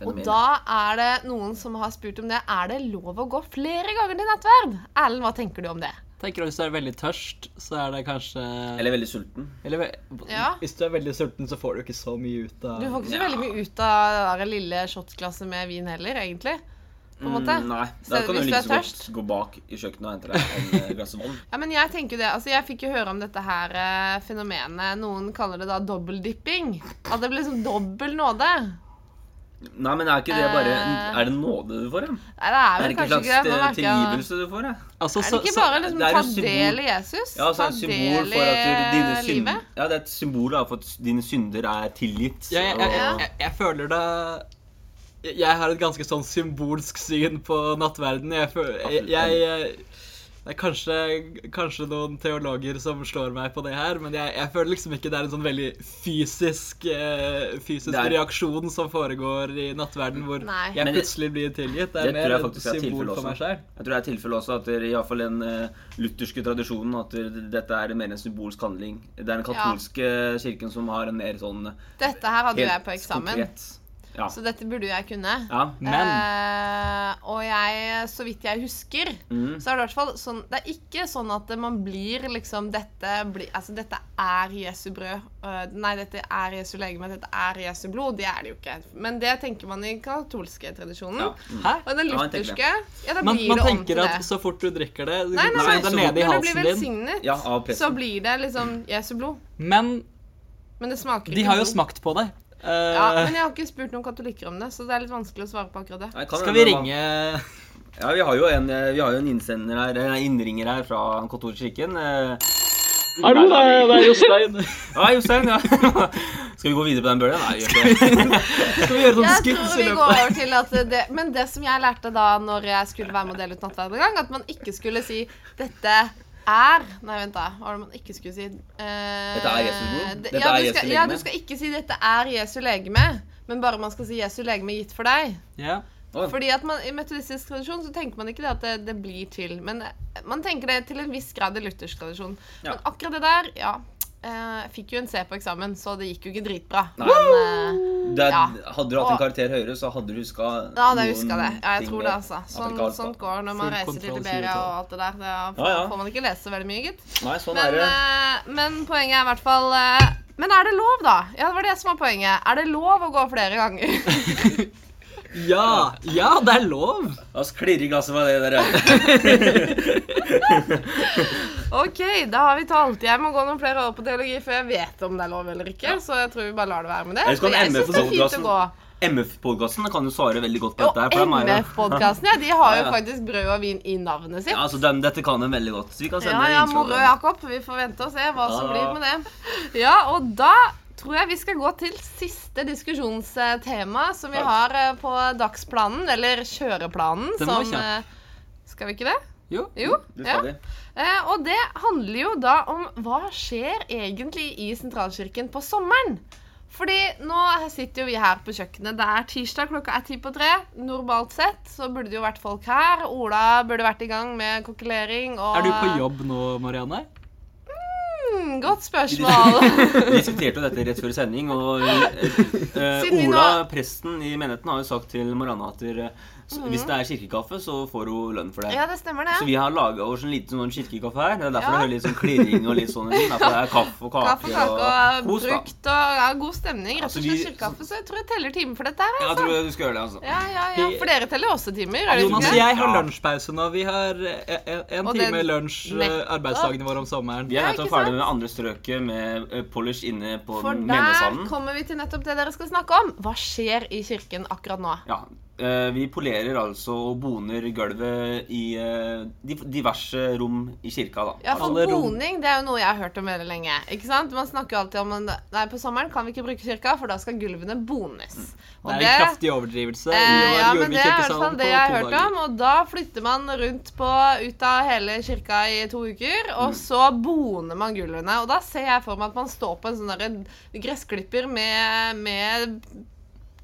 [SPEAKER 1] Og
[SPEAKER 2] Fenomenet.
[SPEAKER 1] da er det noen som har spurt om det. Er det lov å gå flere ganger til nattverd? Erlend, hva tenker du om det?
[SPEAKER 3] Tenker du hvis du er veldig tørst, så er det kanskje
[SPEAKER 2] Eller veldig sulten.
[SPEAKER 3] Eller ve-
[SPEAKER 1] Ja.
[SPEAKER 3] hvis du er veldig sulten, så får du ikke så mye ut av
[SPEAKER 1] Du får ikke så
[SPEAKER 2] Ja.
[SPEAKER 1] veldig mye ut av det der lille shotglasset med vin heller, egentlig. På en måte.
[SPEAKER 2] Mm, nei, da
[SPEAKER 1] Så
[SPEAKER 2] kan du
[SPEAKER 1] hvis du
[SPEAKER 2] like
[SPEAKER 1] er
[SPEAKER 2] så godt
[SPEAKER 1] tørst?
[SPEAKER 2] gå bak i kjøkkenet og hente deg en eh, glass vann.
[SPEAKER 1] Ja, men jeg tenker jo det. Altså, jeg fikk jo høre om dette her eh, fenomenet. Noen kaller det da dobbeldipping. At det blir liksom dobbel nåde.
[SPEAKER 2] Nei, men er ikke det bare
[SPEAKER 1] Eh.
[SPEAKER 2] Er det nåde du får, ja?
[SPEAKER 1] Nei, det er
[SPEAKER 2] Er det
[SPEAKER 1] vel
[SPEAKER 2] ikke en
[SPEAKER 1] kanskje ikke
[SPEAKER 2] slags
[SPEAKER 1] det. Nå
[SPEAKER 2] eh,
[SPEAKER 1] merker jeg
[SPEAKER 2] tilgivelse du får, ja?
[SPEAKER 3] altså,
[SPEAKER 1] Er det ikke bare liksom
[SPEAKER 2] det er jo
[SPEAKER 1] ta
[SPEAKER 2] symbol-
[SPEAKER 1] del i Jesus?
[SPEAKER 2] Ja, altså
[SPEAKER 1] Ta
[SPEAKER 2] et
[SPEAKER 1] del
[SPEAKER 2] symbol
[SPEAKER 1] i
[SPEAKER 2] for at du- dine synd...
[SPEAKER 1] livet?
[SPEAKER 2] Ja, det er et symbol da, for at dine synder er tilgitt.
[SPEAKER 3] Ja, jeg, jeg, jeg,
[SPEAKER 1] Ja.
[SPEAKER 3] jeg, jeg føler det jeg- Jeg har et ganske sånn symbolsk syn på nattverden. Jeg føler jeg, jeg, Det er kanskje, kanskje noen teologer som slår meg på det her, men jeg, jeg føler liksom ikke det er en sånn veldig fysisk, eh, fysisk
[SPEAKER 2] Det er-
[SPEAKER 3] reaksjon som foregår i nattverden, hvor
[SPEAKER 1] Nei.
[SPEAKER 3] jeg
[SPEAKER 2] Men det-
[SPEAKER 3] plutselig blir tilgitt. Det
[SPEAKER 2] Det
[SPEAKER 3] er
[SPEAKER 2] tror jeg
[SPEAKER 3] mer et
[SPEAKER 2] faktisk er
[SPEAKER 3] symbol
[SPEAKER 2] tilfellet
[SPEAKER 3] for meg
[SPEAKER 2] også.
[SPEAKER 3] sjøl.
[SPEAKER 2] Jeg tror det er tilfellet også at det, i hvert fall den eh, lutherske tradisjonen at det- dette er mer en symbolsk handling. Det er den katolske kirken som har en mer sånn
[SPEAKER 1] Dette her hadde jo jeg
[SPEAKER 2] helt
[SPEAKER 1] på eksamen,
[SPEAKER 2] konkret- Ja.
[SPEAKER 1] så dette burde jo jeg kunne.
[SPEAKER 2] ja.
[SPEAKER 3] Men
[SPEAKER 1] Eh, og jeg, så vidt jeg husker,
[SPEAKER 2] Mm.
[SPEAKER 1] så er det i hvert fall sånn Det er ikke sånn at man blir liksom Dette, blir- altså, dette er Jesu brød. eh, nei, dette er Jesu legeme, dette er Jesu blod. Det er det jo ikke. Men det tenker man i den katolske tradisjonen.
[SPEAKER 2] ja.
[SPEAKER 3] Hæ?
[SPEAKER 1] Og i den
[SPEAKER 2] Ja, man tenker
[SPEAKER 1] lutherske Ja, da blir
[SPEAKER 3] Man, man
[SPEAKER 1] det om til
[SPEAKER 3] tenker
[SPEAKER 1] det.
[SPEAKER 3] at så fort du drikker det,
[SPEAKER 1] Nei, nei, nei,
[SPEAKER 3] det
[SPEAKER 2] så
[SPEAKER 3] er
[SPEAKER 2] fort
[SPEAKER 3] nede i
[SPEAKER 1] Når du blir
[SPEAKER 3] halsen din.
[SPEAKER 1] velsignet,
[SPEAKER 2] ja, av
[SPEAKER 1] så
[SPEAKER 2] presten.
[SPEAKER 1] blir det liksom Jesu blod.
[SPEAKER 3] Men
[SPEAKER 1] Men det smaker
[SPEAKER 3] de har jo
[SPEAKER 1] blod.
[SPEAKER 3] smakt på det. Eh,
[SPEAKER 1] Ja, men jeg har ikke spurt noen katolikker om det, så det er litt vanskelig å svare på akkurat det.
[SPEAKER 2] Nei, kan
[SPEAKER 3] skal vi
[SPEAKER 2] hende man-
[SPEAKER 3] ringe
[SPEAKER 2] Ja, vi har jo en, eh, vi har jo en innsender her, eller en innringer her fra den katolske kirken. eh.
[SPEAKER 3] Hallo, det er, det er Jostein.
[SPEAKER 2] Ja, Jostein, ja. Skal vi gå videre på den bølgen? Nei, vi gjør ikke det.
[SPEAKER 3] Skal vi gjøre sånn
[SPEAKER 1] Jeg
[SPEAKER 3] skits
[SPEAKER 1] tror
[SPEAKER 3] i
[SPEAKER 1] vi går
[SPEAKER 3] løpet av
[SPEAKER 1] over til at det, Men det som jeg lærte da når jeg skulle være med og dele ut nattverd en gang, at man ikke skulle si 'dette er' Nei, vent, da. Hva var det man ikke skulle si? Eh,
[SPEAKER 2] Dette er Jesu blod?
[SPEAKER 1] det-
[SPEAKER 2] Dette
[SPEAKER 1] ja,
[SPEAKER 2] er
[SPEAKER 1] du
[SPEAKER 2] Jesu
[SPEAKER 1] skal,
[SPEAKER 2] legeme?
[SPEAKER 1] ja, du skal ikke si 'dette er Jesu legeme', men bare man skal si 'Jesu legeme gitt for deg'.
[SPEAKER 3] Ja.
[SPEAKER 2] Å,
[SPEAKER 1] Fordi at man, I metodistisk tradisjon så tenker man ikke det at det, det blir til, men eh, man tenker det til en viss grad i luthersk tradisjon.
[SPEAKER 2] Ja.
[SPEAKER 1] Men akkurat det der, ja. eh, Jeg fikk jo en C på eksamen, så det gikk jo ikke dritbra.
[SPEAKER 2] Nei.
[SPEAKER 1] Men, eh,
[SPEAKER 2] det er,
[SPEAKER 1] Ja.
[SPEAKER 2] Hadde du hatt en karakter høyere, så hadde du huska
[SPEAKER 1] ja, det huska det. Ja, jeg tror det, altså.
[SPEAKER 2] at det
[SPEAKER 1] Sånn,
[SPEAKER 2] ikke er alt, da.
[SPEAKER 1] sånt går når man
[SPEAKER 3] Full
[SPEAKER 1] reiser til
[SPEAKER 3] kontroll,
[SPEAKER 1] Liberia og alt det der. Da får,
[SPEAKER 2] Ja, ja.
[SPEAKER 1] får man ikke lese så veldig mye, gitt.
[SPEAKER 2] Nei, sånn
[SPEAKER 1] Men,
[SPEAKER 2] er det.
[SPEAKER 1] eh, men poenget er i hvert fall eh, Men er det lov, da? Ja, det var det som var poenget. Er det lov å gå flere ganger?
[SPEAKER 3] ja, ja, det er lov.
[SPEAKER 2] La oss klirre i glasset med det der.
[SPEAKER 1] OK, da har vi talt. Jeg må gå noen flere år på teologi før jeg vet om det er lov eller ikke. Så jeg tror vi bare lar det være med det.
[SPEAKER 2] Ellers kan
[SPEAKER 1] Men jeg
[SPEAKER 2] MF
[SPEAKER 1] synes det er fint
[SPEAKER 2] podcasten-
[SPEAKER 1] å gå.
[SPEAKER 2] MF-podkasten kan jo svare veldig godt på
[SPEAKER 1] Og
[SPEAKER 2] dette. her, for dem er jo-
[SPEAKER 1] MF-podkasten, ja, de har
[SPEAKER 2] Ja,
[SPEAKER 1] jo
[SPEAKER 2] ja.
[SPEAKER 1] faktisk brød og vin i navnet
[SPEAKER 2] Ja,
[SPEAKER 1] sitt.
[SPEAKER 2] altså, dem, Dette kan de veldig godt. Så vi kan sende
[SPEAKER 1] Ja, ja,
[SPEAKER 2] en
[SPEAKER 1] moro,
[SPEAKER 2] innsjø.
[SPEAKER 1] Jakob. Vi får vente og se hva som
[SPEAKER 2] Ja.
[SPEAKER 3] Ah.
[SPEAKER 1] blir med det. Ja, og da tror jeg vi skal gå til siste diskusjonstema som vi
[SPEAKER 2] Ja.
[SPEAKER 1] har eh, på dagsplanen, eller kjøreplanen,
[SPEAKER 3] Den var
[SPEAKER 1] som
[SPEAKER 3] kjapp.
[SPEAKER 1] eh, Skal vi ikke det?
[SPEAKER 3] Jo.
[SPEAKER 1] Jo.
[SPEAKER 2] Det
[SPEAKER 1] ja.
[SPEAKER 2] skal de.
[SPEAKER 1] Eh, Og det handler jo da om hva skjer egentlig i sentralkirken på sommeren. Fordi nå sitter jo vi her på kjøkkenet. Det er tirsdag, klokka er ti på tre. Normalt sett så burde det jo vært folk her. Ola burde vært i gang med kokkelering og
[SPEAKER 3] Er du på jobb nå, Marianne?
[SPEAKER 1] Hmm, godt spørsmål.
[SPEAKER 2] Vi diskuterte jo dette rett før sending, og eh,
[SPEAKER 1] Siden vi nå- Mhm.
[SPEAKER 2] Ola, presten i menigheten, har jo sagt til Marianne at eh, så, hvis det er kirkekaffe, så får hun lønn for det.
[SPEAKER 1] ja, det stemmer,
[SPEAKER 2] Så
[SPEAKER 1] det.
[SPEAKER 2] vi har laga oss en liten sånn kirkekaffe her. Det er derfor
[SPEAKER 1] Ja.
[SPEAKER 2] det hører litt sånn klirring og litt sånn. Derfor det er kaffe og kake.
[SPEAKER 1] Kaffe, kake og
[SPEAKER 2] kos, da.
[SPEAKER 1] brukt og ja, god stemning. Rett
[SPEAKER 2] Altså,
[SPEAKER 1] og
[SPEAKER 2] vi-
[SPEAKER 1] slett kirkekaffe. Så jeg tror jeg teller timer for dette her.
[SPEAKER 2] Ja, jeg
[SPEAKER 1] Altså.
[SPEAKER 2] tror du skal gjøre det, altså.
[SPEAKER 1] Ja, ja, ja. For dere teller jo også timer? Er det
[SPEAKER 3] Jonas
[SPEAKER 1] ikke
[SPEAKER 3] og
[SPEAKER 1] det?
[SPEAKER 3] jeg har
[SPEAKER 2] Ja.
[SPEAKER 3] lunsjpause nå. Vi har eh, en, en
[SPEAKER 1] Og
[SPEAKER 3] time
[SPEAKER 1] den-
[SPEAKER 3] lunsj eh,
[SPEAKER 1] Nettopp.
[SPEAKER 3] arbeidsdagene våre om sommeren.
[SPEAKER 2] Vi er
[SPEAKER 1] Ja,
[SPEAKER 2] nettopp
[SPEAKER 1] ikke
[SPEAKER 2] ferdig
[SPEAKER 1] sant?
[SPEAKER 2] med andre strøket med eh, polish inne på
[SPEAKER 1] For der
[SPEAKER 2] mennesalen.
[SPEAKER 1] kommer vi til nettopp det dere skal snakke om. Hva skjer i kirken akkurat nå?
[SPEAKER 2] Ja, eh, vi polerer altså og boner gulvet i eh, div- diverse rom i kirka, da.
[SPEAKER 1] Ja, for
[SPEAKER 3] Alle rom.
[SPEAKER 1] boning det er jo noe jeg har hørt om veldig lenge. ikke sant? Man snakker jo alltid om en, Nei, på sommeren kan vi ikke bruke kirka, for da skal gulvene bones.
[SPEAKER 2] Mm.
[SPEAKER 1] Og
[SPEAKER 3] Det er en kraftig overdrivelse. I
[SPEAKER 1] eh,
[SPEAKER 3] år
[SPEAKER 1] ja,
[SPEAKER 3] gjorde
[SPEAKER 1] men
[SPEAKER 3] vi
[SPEAKER 1] det er i hvert
[SPEAKER 3] kirkesalen
[SPEAKER 1] fall
[SPEAKER 3] på
[SPEAKER 1] det jeg har
[SPEAKER 3] to
[SPEAKER 1] hørt
[SPEAKER 3] dager.
[SPEAKER 1] om. Og da flytter man rundt på ut av hele kirka i to uker, og
[SPEAKER 2] Mm.
[SPEAKER 1] så boner man gulvene. Og da ser jeg for meg at man står på en sånn derre gressklipper med, med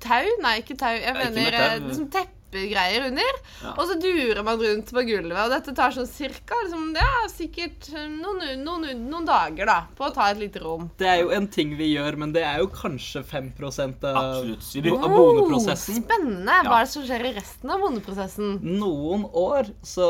[SPEAKER 1] tau Nei, ikke tau. Jeg
[SPEAKER 2] Nei, ikke
[SPEAKER 1] mener
[SPEAKER 2] med
[SPEAKER 1] eh,
[SPEAKER 2] tau.
[SPEAKER 1] liksom teppegreier under.
[SPEAKER 2] Ja.
[SPEAKER 1] Og så durer man rundt på gulvet, og dette tar sånn cirka liksom, det er sikkert eh, noen, u- noen, u- noen dager da, på å ta et lite rom.
[SPEAKER 3] Det er jo en ting vi gjør, men det er jo kanskje 5 av,
[SPEAKER 2] Absolutt. Vi bruker-
[SPEAKER 3] av boneprosessen.
[SPEAKER 1] Oh, spennende! Hva er det som skjer i resten av boneprosessen?
[SPEAKER 3] Noen år så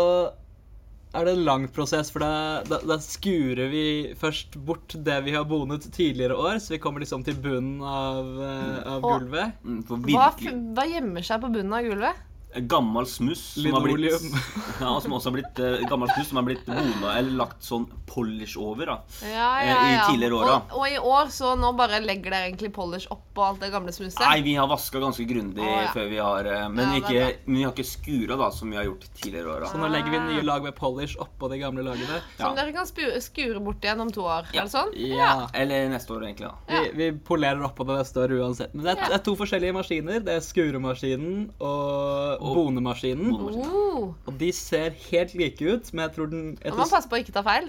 [SPEAKER 3] er det en lang prosess, for da, da, da skurer vi først bort det vi har bonet tidligere år, så vi kommer liksom til bunnen av, eh, av
[SPEAKER 1] Og-
[SPEAKER 3] gulvet.
[SPEAKER 2] Mm, For
[SPEAKER 1] Hva, f-
[SPEAKER 2] virkelig
[SPEAKER 1] hva gjemmer seg på bunnen av gulvet?
[SPEAKER 2] Gammel smuss som har blitt,
[SPEAKER 3] Linoleum.
[SPEAKER 2] ja, som også har blitt eh, gammel smuss som har blitt bona eller lagt sånn polish over, da.
[SPEAKER 1] Ja,
[SPEAKER 2] Eh,
[SPEAKER 1] ja,
[SPEAKER 2] i
[SPEAKER 1] ja.
[SPEAKER 2] tidligere år,
[SPEAKER 1] og, og i år, så nå bare legger dere egentlig polish oppå alt det gamle smusset?
[SPEAKER 2] Nei, vi har vaska ganske grundig
[SPEAKER 1] Å, ja.
[SPEAKER 2] før vi har eh, Men,
[SPEAKER 1] Ja, det
[SPEAKER 2] ikke,
[SPEAKER 1] er Sånn
[SPEAKER 2] men vi har ikke skura, da, som vi har gjort tidligere år.
[SPEAKER 3] Så
[SPEAKER 2] Da.
[SPEAKER 3] nå legger vi
[SPEAKER 1] Ah.
[SPEAKER 3] nye lag med polish oppå de gamle lagene.
[SPEAKER 1] Som
[SPEAKER 2] Ja.
[SPEAKER 1] dere kan spu- skure bort igjen om to år?
[SPEAKER 2] Ja.
[SPEAKER 1] Er Sånn det sånn?
[SPEAKER 3] Ja.
[SPEAKER 2] Eller neste år, egentlig. da.
[SPEAKER 3] Vi, vi polerer oppå det neste år uansett. Men det er,
[SPEAKER 1] Ja.
[SPEAKER 3] det er to forskjellige maskiner. Det er skuremaskinen og,
[SPEAKER 2] Og-
[SPEAKER 3] bonemaskinen.
[SPEAKER 2] Bonemaskinen.
[SPEAKER 1] Oh,
[SPEAKER 3] Og de ser helt like ut, men jeg tror den
[SPEAKER 1] nå
[SPEAKER 3] jeg
[SPEAKER 1] må man
[SPEAKER 3] tror
[SPEAKER 1] passe på å ikke ta feil.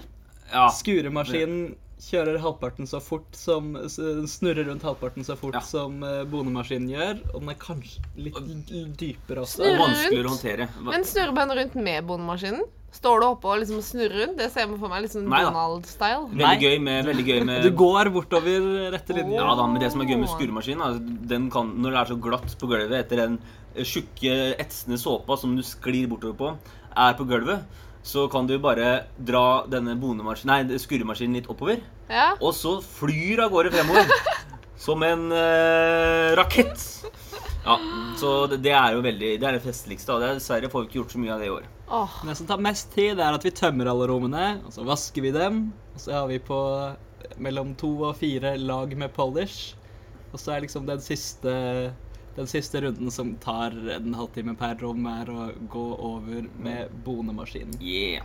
[SPEAKER 2] Ja.
[SPEAKER 3] skuremaskinen kjører halvparten så fort som s- Snurrer rundt halvparten så fort
[SPEAKER 2] Ja.
[SPEAKER 3] som eh, bonemaskinen gjør. Og den er kanskje litt l- dypere også.
[SPEAKER 2] Og
[SPEAKER 1] Snurrer
[SPEAKER 2] vanskeligere å
[SPEAKER 1] rundt.
[SPEAKER 2] håndtere. Hva-
[SPEAKER 1] Men snurrebønn rundt med bondemaskinen? Står du oppe og liksom snurrer rundt? Det ser man for meg litt sånn
[SPEAKER 2] Nei da.
[SPEAKER 1] Donald-style.
[SPEAKER 3] Nei.
[SPEAKER 2] Veldig gøy med, veldig gøy med
[SPEAKER 3] Du går bortover rette linjer.
[SPEAKER 2] Ja da, men det som er gøy med skuremaskinen, er at den kan, når det er så glatt på gulvet etter den eh, tjukke, etsende såpa som du sklir bortover på, er på gulvet, så kan du bare dra denne bonemaskinen, nei, skuremaskinen litt oppover,
[SPEAKER 1] Ja.
[SPEAKER 2] og så flyr av gårde fremover. Som en eh, rakett. Ja, så det, det er jo veldig Det er det festligste. da. Det er Dessverre får vi ikke gjort så mye av det i år.
[SPEAKER 1] Åh.
[SPEAKER 3] Det som tar mest tid, er at vi tømmer alle rommene, og så vasker vi dem. Og så har vi på eh, mellom to og fire lag med polish. Og så er liksom den siste, den siste runden som tar en halvtime per rom, er å gå over med bonemaskinen.
[SPEAKER 2] Yeah.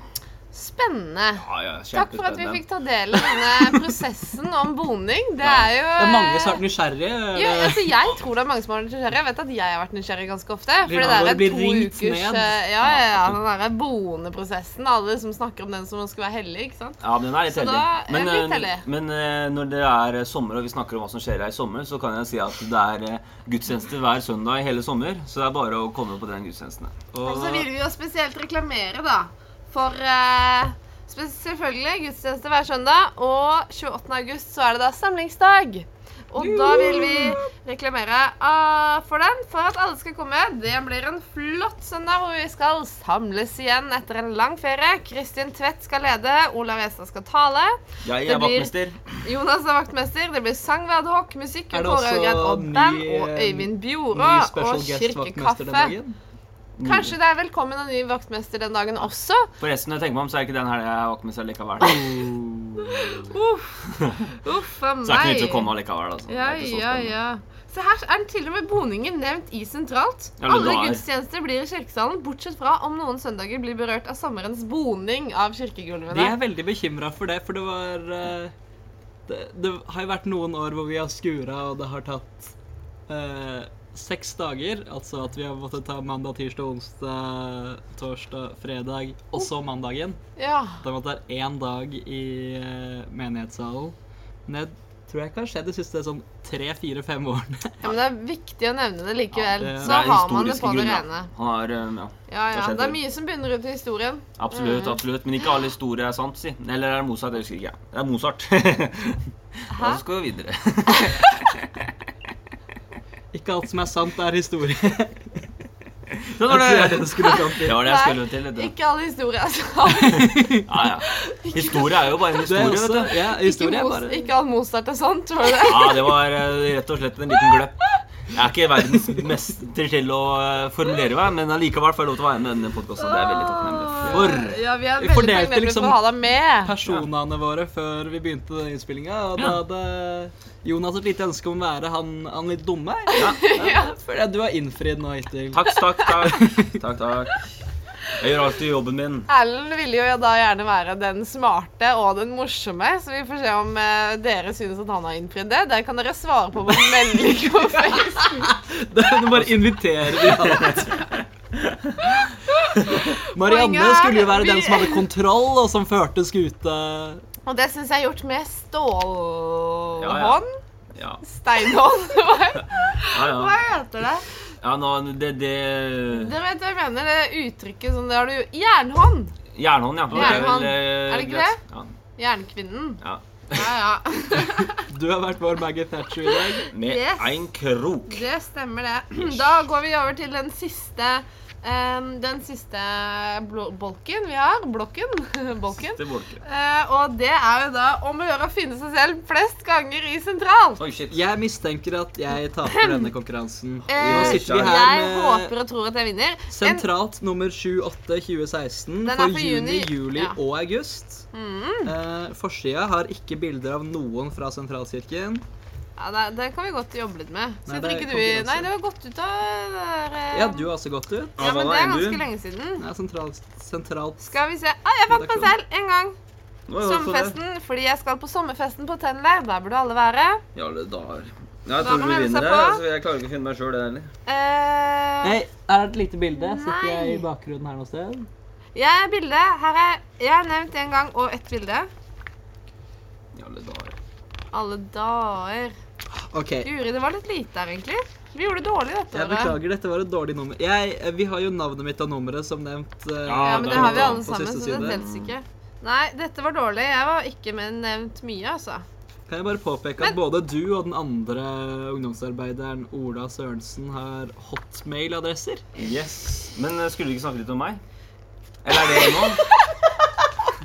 [SPEAKER 1] Spennende.
[SPEAKER 2] Ja, ja,
[SPEAKER 1] Takk for at vi
[SPEAKER 2] kjempespennende.
[SPEAKER 1] fikk ta del i denne prosessen om boning. Det er jo
[SPEAKER 3] Det er mange som er nysgjerrige.
[SPEAKER 1] Ja,
[SPEAKER 3] eller-
[SPEAKER 1] altså, jeg tror det er mange som har vært nysgjerrige. Jeg vet at jeg har vært nysgjerrig ganske ofte. For det
[SPEAKER 3] Ja,
[SPEAKER 1] der
[SPEAKER 3] når
[SPEAKER 1] er
[SPEAKER 3] det blir
[SPEAKER 1] to
[SPEAKER 3] ringt
[SPEAKER 1] ukers
[SPEAKER 3] ned.
[SPEAKER 1] eh, Ja, ja, ja, den derre boendeprosessen. Alle som snakker om den som skulle være hellig, ikke sant.
[SPEAKER 2] Ja, men den er litt
[SPEAKER 1] Så
[SPEAKER 2] heldig.
[SPEAKER 1] da er
[SPEAKER 2] Men,
[SPEAKER 1] den litt
[SPEAKER 2] eh,
[SPEAKER 1] heldig.
[SPEAKER 2] men eh, når det er eh, sommer og vi snakker om hva som skjer her i sommer, så kan jeg si at det er eh, gudstjeneste hver søndag i hele sommer. Så det er bare å komme på den gudstjenesten.
[SPEAKER 1] Og så vil
[SPEAKER 3] Og
[SPEAKER 1] vi jo spesielt reklamere, da, for eh, spe- Selvfølgelig gudstjeneste hver søndag, og 28. august så er det da samlingsdag. Og da vil vi reklamere ah, for den, for at alle skal komme. Det blir en flott søndag hvor vi skal samles igjen etter en lang ferie. Kristin Tvedt skal lede, Olav Estad skal tale.
[SPEAKER 2] Jeg
[SPEAKER 1] Det
[SPEAKER 2] er
[SPEAKER 1] blir-
[SPEAKER 2] vaktmester.
[SPEAKER 1] Jonas er vaktmester. Det blir sang ved adhoc, musikk,
[SPEAKER 3] Er det også
[SPEAKER 1] kårøygrend og
[SPEAKER 3] ny,
[SPEAKER 1] band, og
[SPEAKER 3] eh,
[SPEAKER 1] Øyvind Bjorå
[SPEAKER 3] ny
[SPEAKER 1] og
[SPEAKER 3] special guest vaktmester den
[SPEAKER 1] kirkekaffe.
[SPEAKER 3] dagen.
[SPEAKER 2] Mm.
[SPEAKER 1] Kanskje det er velkommen en ny vaktmester den dagen også.
[SPEAKER 2] Forresten, når jeg tenker meg om, så er ikke den helga jeg er vaktmester likevel. Så
[SPEAKER 1] Uff, uff a meg.
[SPEAKER 2] jeg er ikke nødt til å komme allikevel. Altså. Det
[SPEAKER 1] Ja,
[SPEAKER 2] er ikke så
[SPEAKER 1] ja,
[SPEAKER 2] spennende.
[SPEAKER 1] ja. Se her er den til og med boningen nevnt i sentralt.
[SPEAKER 2] Ja, men
[SPEAKER 1] Alle
[SPEAKER 2] da er-
[SPEAKER 1] gudstjenester blir i kirkesalen, bortsett fra om noen søndager blir berørt av sommerens boning av
[SPEAKER 3] De er
[SPEAKER 1] kirkegulvene.
[SPEAKER 3] veldig bekymra for det, for det var eh, det, det har jo vært noen år hvor vi har skura, og det har tatt eh, seks dager. Altså at vi har måttet ta mandag, tirsdag, onsdag, torsdag, fredag, og så mandagen.
[SPEAKER 1] Ja.
[SPEAKER 3] Det har måttet være én dag i eh, menighetssalen. Men jeg tror jeg ikke har skjedd de siste sånn tre-fire-fem årene.
[SPEAKER 1] Ja, men det er viktig å nevne det likevel.
[SPEAKER 3] Ja, det-
[SPEAKER 1] så da
[SPEAKER 2] er
[SPEAKER 1] har man det på
[SPEAKER 2] historiske
[SPEAKER 1] det
[SPEAKER 2] grunner.
[SPEAKER 1] rene.
[SPEAKER 2] Han har, um, ja.
[SPEAKER 1] Ja,
[SPEAKER 2] Det
[SPEAKER 1] ja.
[SPEAKER 2] har skjedd
[SPEAKER 1] Det er
[SPEAKER 2] før.
[SPEAKER 1] mye som begynner rundt i historien.
[SPEAKER 2] Absolutt,
[SPEAKER 1] Mm.
[SPEAKER 2] absolutt. Men ikke alle historier er sant, si. Eller er det Mozart? Jeg husker ikke. jeg. Det er Mozart. Da skal vi videre.
[SPEAKER 3] Ikke alt som er sant, er historie.
[SPEAKER 2] Sånn var
[SPEAKER 3] Jeg tror det er det
[SPEAKER 2] det.
[SPEAKER 3] du skulle fram
[SPEAKER 2] Det
[SPEAKER 3] til.
[SPEAKER 2] var det jeg skulle til. vet du.
[SPEAKER 1] Ikke altså. alle historier er sant.
[SPEAKER 2] Ja, ja. Historie er jo bare en
[SPEAKER 3] Du er
[SPEAKER 2] historie, vet
[SPEAKER 3] også,
[SPEAKER 2] du.
[SPEAKER 3] ja,
[SPEAKER 1] Ikke,
[SPEAKER 3] historie er
[SPEAKER 1] Mos-
[SPEAKER 3] bare
[SPEAKER 1] ikke all Mozart er sant, tror du det?
[SPEAKER 2] Ja, det var eh, rett og slett en liten gløpp. Jeg er ikke verdens mester til å eh, formulere meg, men allikevel får jeg lov til å være med i denne podkasten. Det er jeg veldig takknemlig for.
[SPEAKER 1] Ja, vi er
[SPEAKER 3] Vi
[SPEAKER 1] veldig
[SPEAKER 3] fordelte
[SPEAKER 1] takknemlige
[SPEAKER 3] liksom-
[SPEAKER 1] for å ha deg med.
[SPEAKER 3] personene våre før vi begynte denne innspillinga. Og da
[SPEAKER 2] Ja.
[SPEAKER 3] hadde Jonas et lite ønske om å være han, han litt dumme.
[SPEAKER 1] Ja.
[SPEAKER 3] Føler jeg du har innfridd nå hittil.
[SPEAKER 2] Takk, takk, takk. Takk, takk. Jeg gjør alltid jobben min.
[SPEAKER 1] Erlend ville jo da gjerne være den smarte og den morsomme, så vi får se om eh, dere synes at han har innfridd det. Der kan dere svare på vår melding på Facebook.
[SPEAKER 3] Du bare inviterer de alt. Marianne
[SPEAKER 1] Poenget er,
[SPEAKER 3] skulle jo være den
[SPEAKER 1] vi-
[SPEAKER 3] som hadde kontroll, og som førte skuta.
[SPEAKER 1] Og det synes jeg er gjort med stålhånd.
[SPEAKER 2] Ja, ja. Ja,
[SPEAKER 1] Steinhånd. Hva-
[SPEAKER 2] ja.
[SPEAKER 1] Hva
[SPEAKER 2] ja.
[SPEAKER 1] heter det?
[SPEAKER 2] ja nå, det, det
[SPEAKER 1] Dere vet hva jeg mener, det uttrykket som det har du Jernhånd!
[SPEAKER 2] Jernhånd, ja.
[SPEAKER 1] Jernhånd.
[SPEAKER 2] vel, eh,
[SPEAKER 1] Er det ikke
[SPEAKER 2] greit.
[SPEAKER 1] det?
[SPEAKER 2] Ja.
[SPEAKER 1] Jernkvinnen.
[SPEAKER 2] ja.
[SPEAKER 1] Ja, ja.
[SPEAKER 3] Du har vært vår Maggie Thatcher i dag.
[SPEAKER 2] Med
[SPEAKER 1] Yes.
[SPEAKER 2] en krok.
[SPEAKER 1] Det stemmer, det. Da går vi over til den siste em, den siste blo- bolken vi har. Blokken. Bolken.
[SPEAKER 2] Det var ikke.
[SPEAKER 1] Eh, og det er jo da om å gjøre å finne seg selv flest ganger i sentral.
[SPEAKER 2] Oi, shit.
[SPEAKER 3] Jeg mistenker at jeg taper denne konkurransen. Nå
[SPEAKER 1] Eh,
[SPEAKER 3] sitter vi
[SPEAKER 1] jeg
[SPEAKER 3] her med
[SPEAKER 1] håper og tror at jeg vinner. En,
[SPEAKER 3] sentralt nummer 7-8-2016
[SPEAKER 1] Den er
[SPEAKER 3] for
[SPEAKER 1] for
[SPEAKER 3] juni,
[SPEAKER 1] juni,
[SPEAKER 3] juli
[SPEAKER 1] ja.
[SPEAKER 3] og august.
[SPEAKER 1] mm,
[SPEAKER 3] Eh, Forsida har ikke bilder av noen fra sentralkirken.
[SPEAKER 1] ja, det, det kan vi godt jobbe litt med.
[SPEAKER 3] Nei,
[SPEAKER 1] Sitter
[SPEAKER 3] det er
[SPEAKER 1] ikke du i
[SPEAKER 3] konkurranse.
[SPEAKER 1] Nei, det var godt ut av der, eh,
[SPEAKER 3] Ja, du har også gått ut.
[SPEAKER 1] ja, men det er
[SPEAKER 2] Hva da,
[SPEAKER 1] ganske
[SPEAKER 2] Endu?
[SPEAKER 1] lenge siden.
[SPEAKER 3] Det er sentralt, sentralt
[SPEAKER 1] Skal vi se ah, Jeg fant meg selv en gang.
[SPEAKER 2] Nå er det også det.
[SPEAKER 1] Sommerfesten. Fordi jeg skal på sommerfesten på Tenley. Der burde alle være.
[SPEAKER 2] Ja, det dager. Ja,
[SPEAKER 1] Da
[SPEAKER 2] jeg tror
[SPEAKER 1] kan
[SPEAKER 2] du
[SPEAKER 1] man melde seg
[SPEAKER 2] vinner det.
[SPEAKER 1] på.
[SPEAKER 2] Altså, jeg klarer ikke å finne meg sjøl, det heller.
[SPEAKER 1] Eh,
[SPEAKER 3] Hei, her er et lite bilde. Sitter
[SPEAKER 1] Nei.
[SPEAKER 3] jeg i bakgrunnen her noe sted?
[SPEAKER 1] jeg er bildet. Her er Jeg har nevnt en gang og ett bilde.
[SPEAKER 2] Ja, det dager.
[SPEAKER 1] Alle dager.
[SPEAKER 3] OK.
[SPEAKER 1] Guri, det var litt lite her, egentlig. Vi gjorde det dårlig dette
[SPEAKER 3] Jeg beklager, dette var et dårlig nummer. Jeg, eh, vi har jo navnet mitt og nummeret, som nevnt. eh,
[SPEAKER 1] Ja,
[SPEAKER 2] Ja,
[SPEAKER 1] men
[SPEAKER 2] det
[SPEAKER 1] det
[SPEAKER 2] er
[SPEAKER 1] har vi
[SPEAKER 2] litt
[SPEAKER 1] alle
[SPEAKER 3] på siste
[SPEAKER 1] sammen, så det
[SPEAKER 3] side.
[SPEAKER 1] teller ikke. Nei, dette var dårlig. Jeg var ikke med nevnt mye, altså.
[SPEAKER 3] Kan jeg bare påpeke at både du og den andre ungdomsarbeideren, Ola Sørensen, har hotmail-adresser?
[SPEAKER 2] Yes. Men eh, skulle du ikke snakke litt om meg? Eller er det nå?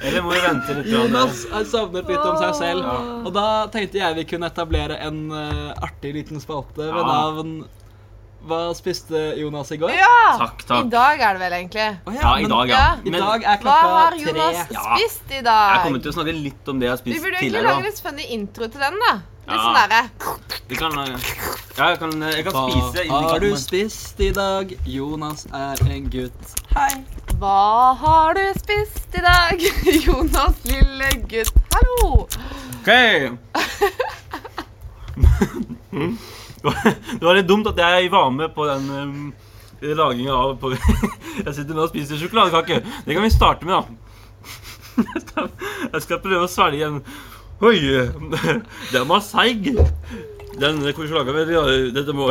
[SPEAKER 2] Eller må vi vente litt? grann?
[SPEAKER 3] Jonas har savnet litt om seg selv.
[SPEAKER 2] Ja.
[SPEAKER 3] Og da tenkte jeg vi kunne etablere en eh, artig liten spalte ved
[SPEAKER 2] Ja.
[SPEAKER 3] navn Hva spiste Jonas i går?
[SPEAKER 1] Ja!
[SPEAKER 2] Takk,
[SPEAKER 1] I
[SPEAKER 2] takk.
[SPEAKER 1] dag er det vel, egentlig.
[SPEAKER 3] Å
[SPEAKER 2] Ja, i
[SPEAKER 3] men
[SPEAKER 2] dag, ja.
[SPEAKER 1] Ja.
[SPEAKER 3] I
[SPEAKER 2] Men
[SPEAKER 3] dag
[SPEAKER 1] Hva
[SPEAKER 3] er
[SPEAKER 1] har
[SPEAKER 3] klokka
[SPEAKER 1] Jonas
[SPEAKER 3] tre.
[SPEAKER 2] Ja.
[SPEAKER 1] spist i
[SPEAKER 2] jeg
[SPEAKER 1] dag?
[SPEAKER 2] kommer til å snakke litt om det jeg
[SPEAKER 1] Vi
[SPEAKER 2] har spist
[SPEAKER 1] burde egentlig
[SPEAKER 2] tidligere.
[SPEAKER 1] lage
[SPEAKER 2] da.
[SPEAKER 1] litt funny intro til den, da. Litt
[SPEAKER 2] Ja.
[SPEAKER 1] sånn derre
[SPEAKER 2] Vi kan, eh, ja, jeg kan, jeg kan spise.
[SPEAKER 3] Hva har du
[SPEAKER 2] innimellom.
[SPEAKER 3] spist i dag? Jonas er en gutt. Hei.
[SPEAKER 1] Hva har du spist i dag, Jonas lille gutt? Hallo!
[SPEAKER 2] Ok Det var- Det var litt dumt at jeg var med på den um, laginga av på, Jeg sitter nå og spiser sjokoladekake. Det kan vi starte med, da. Jeg skal, jeg skal prøve å svelge en Oi! Den var seig. Den sjokoladekaken ja, Dette må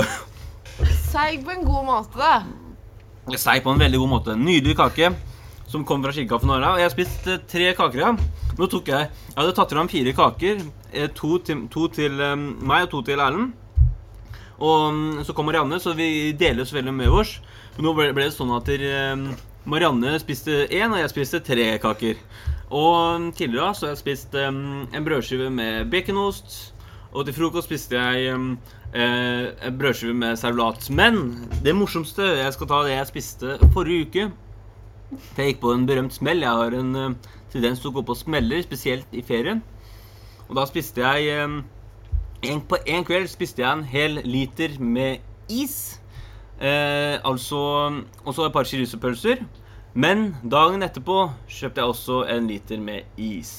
[SPEAKER 1] Seig på en god måte, da.
[SPEAKER 2] Seig på en veldig god måte. En nydelig kake som kom fra Kirka for noen år siden. Og Jeg har spist eh, tre kaker. Ja. Nå tok jeg Jeg hadde tatt fram fire kaker. eh, To til, to til eh, meg og to til Erlend. Og mm, så kom Marianne, så vi deles veldig med oss. Men nå ble, ble det sånn at eh, Marianne spiste én, og jeg spiste tre kaker. Og mm, tidligere så har jeg spist eh, en brødskive med baconost. Og til frokost spiste jeg um, eh, en brødskive med servelat. Men det morsomste Jeg skal ta det jeg spiste forrige uke. For jeg gikk på en berømt smell. Jeg har en eh, tendens til å gå på smeller, spesielt i ferien. Og da spiste jeg eh, en, På en kveld spiste jeg en hel liter med is. Eh, altså Og så et par chorizo-pølser. Men dagen etterpå kjøpte jeg også en liter med is.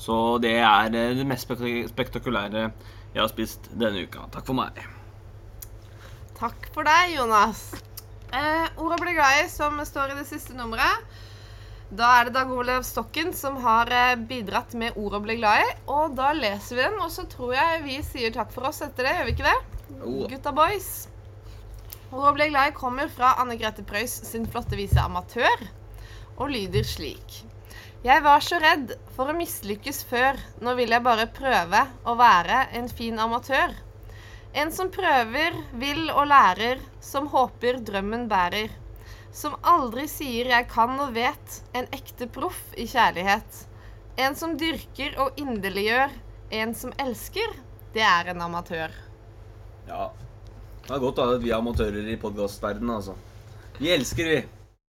[SPEAKER 2] Så det er eh, det mest spek- spektakulære jeg har spist denne uka. Takk for meg.
[SPEAKER 1] Takk for deg, Jonas. Eh, Orda blir glad i, som står i det siste nummeret. Da er det Dag Olav Stokken som har eh, bidratt med ord å bli glad i. Og da leser vi den, og så tror jeg vi sier takk for oss etter det, gjør vi ikke det?
[SPEAKER 2] Jo da.
[SPEAKER 1] Gutta boys. Ord å bli glad i kommer fra Anne Grete Preus sin flotte vise 'Amatør', og lyder slik. Jeg var så redd for å mislykkes før, nå vil jeg bare prøve å være en fin amatør. En som prøver, vil og lærer, som håper drømmen bærer som aldri sier 'jeg kan og vet', en ekte proff i kjærlighet. En som dyrker og inderliggjør, en som elsker, det er en amatør.
[SPEAKER 2] Ja. Det er godt da, at vi er amatører i podkastverdenen, altså. Vi elsker, vi.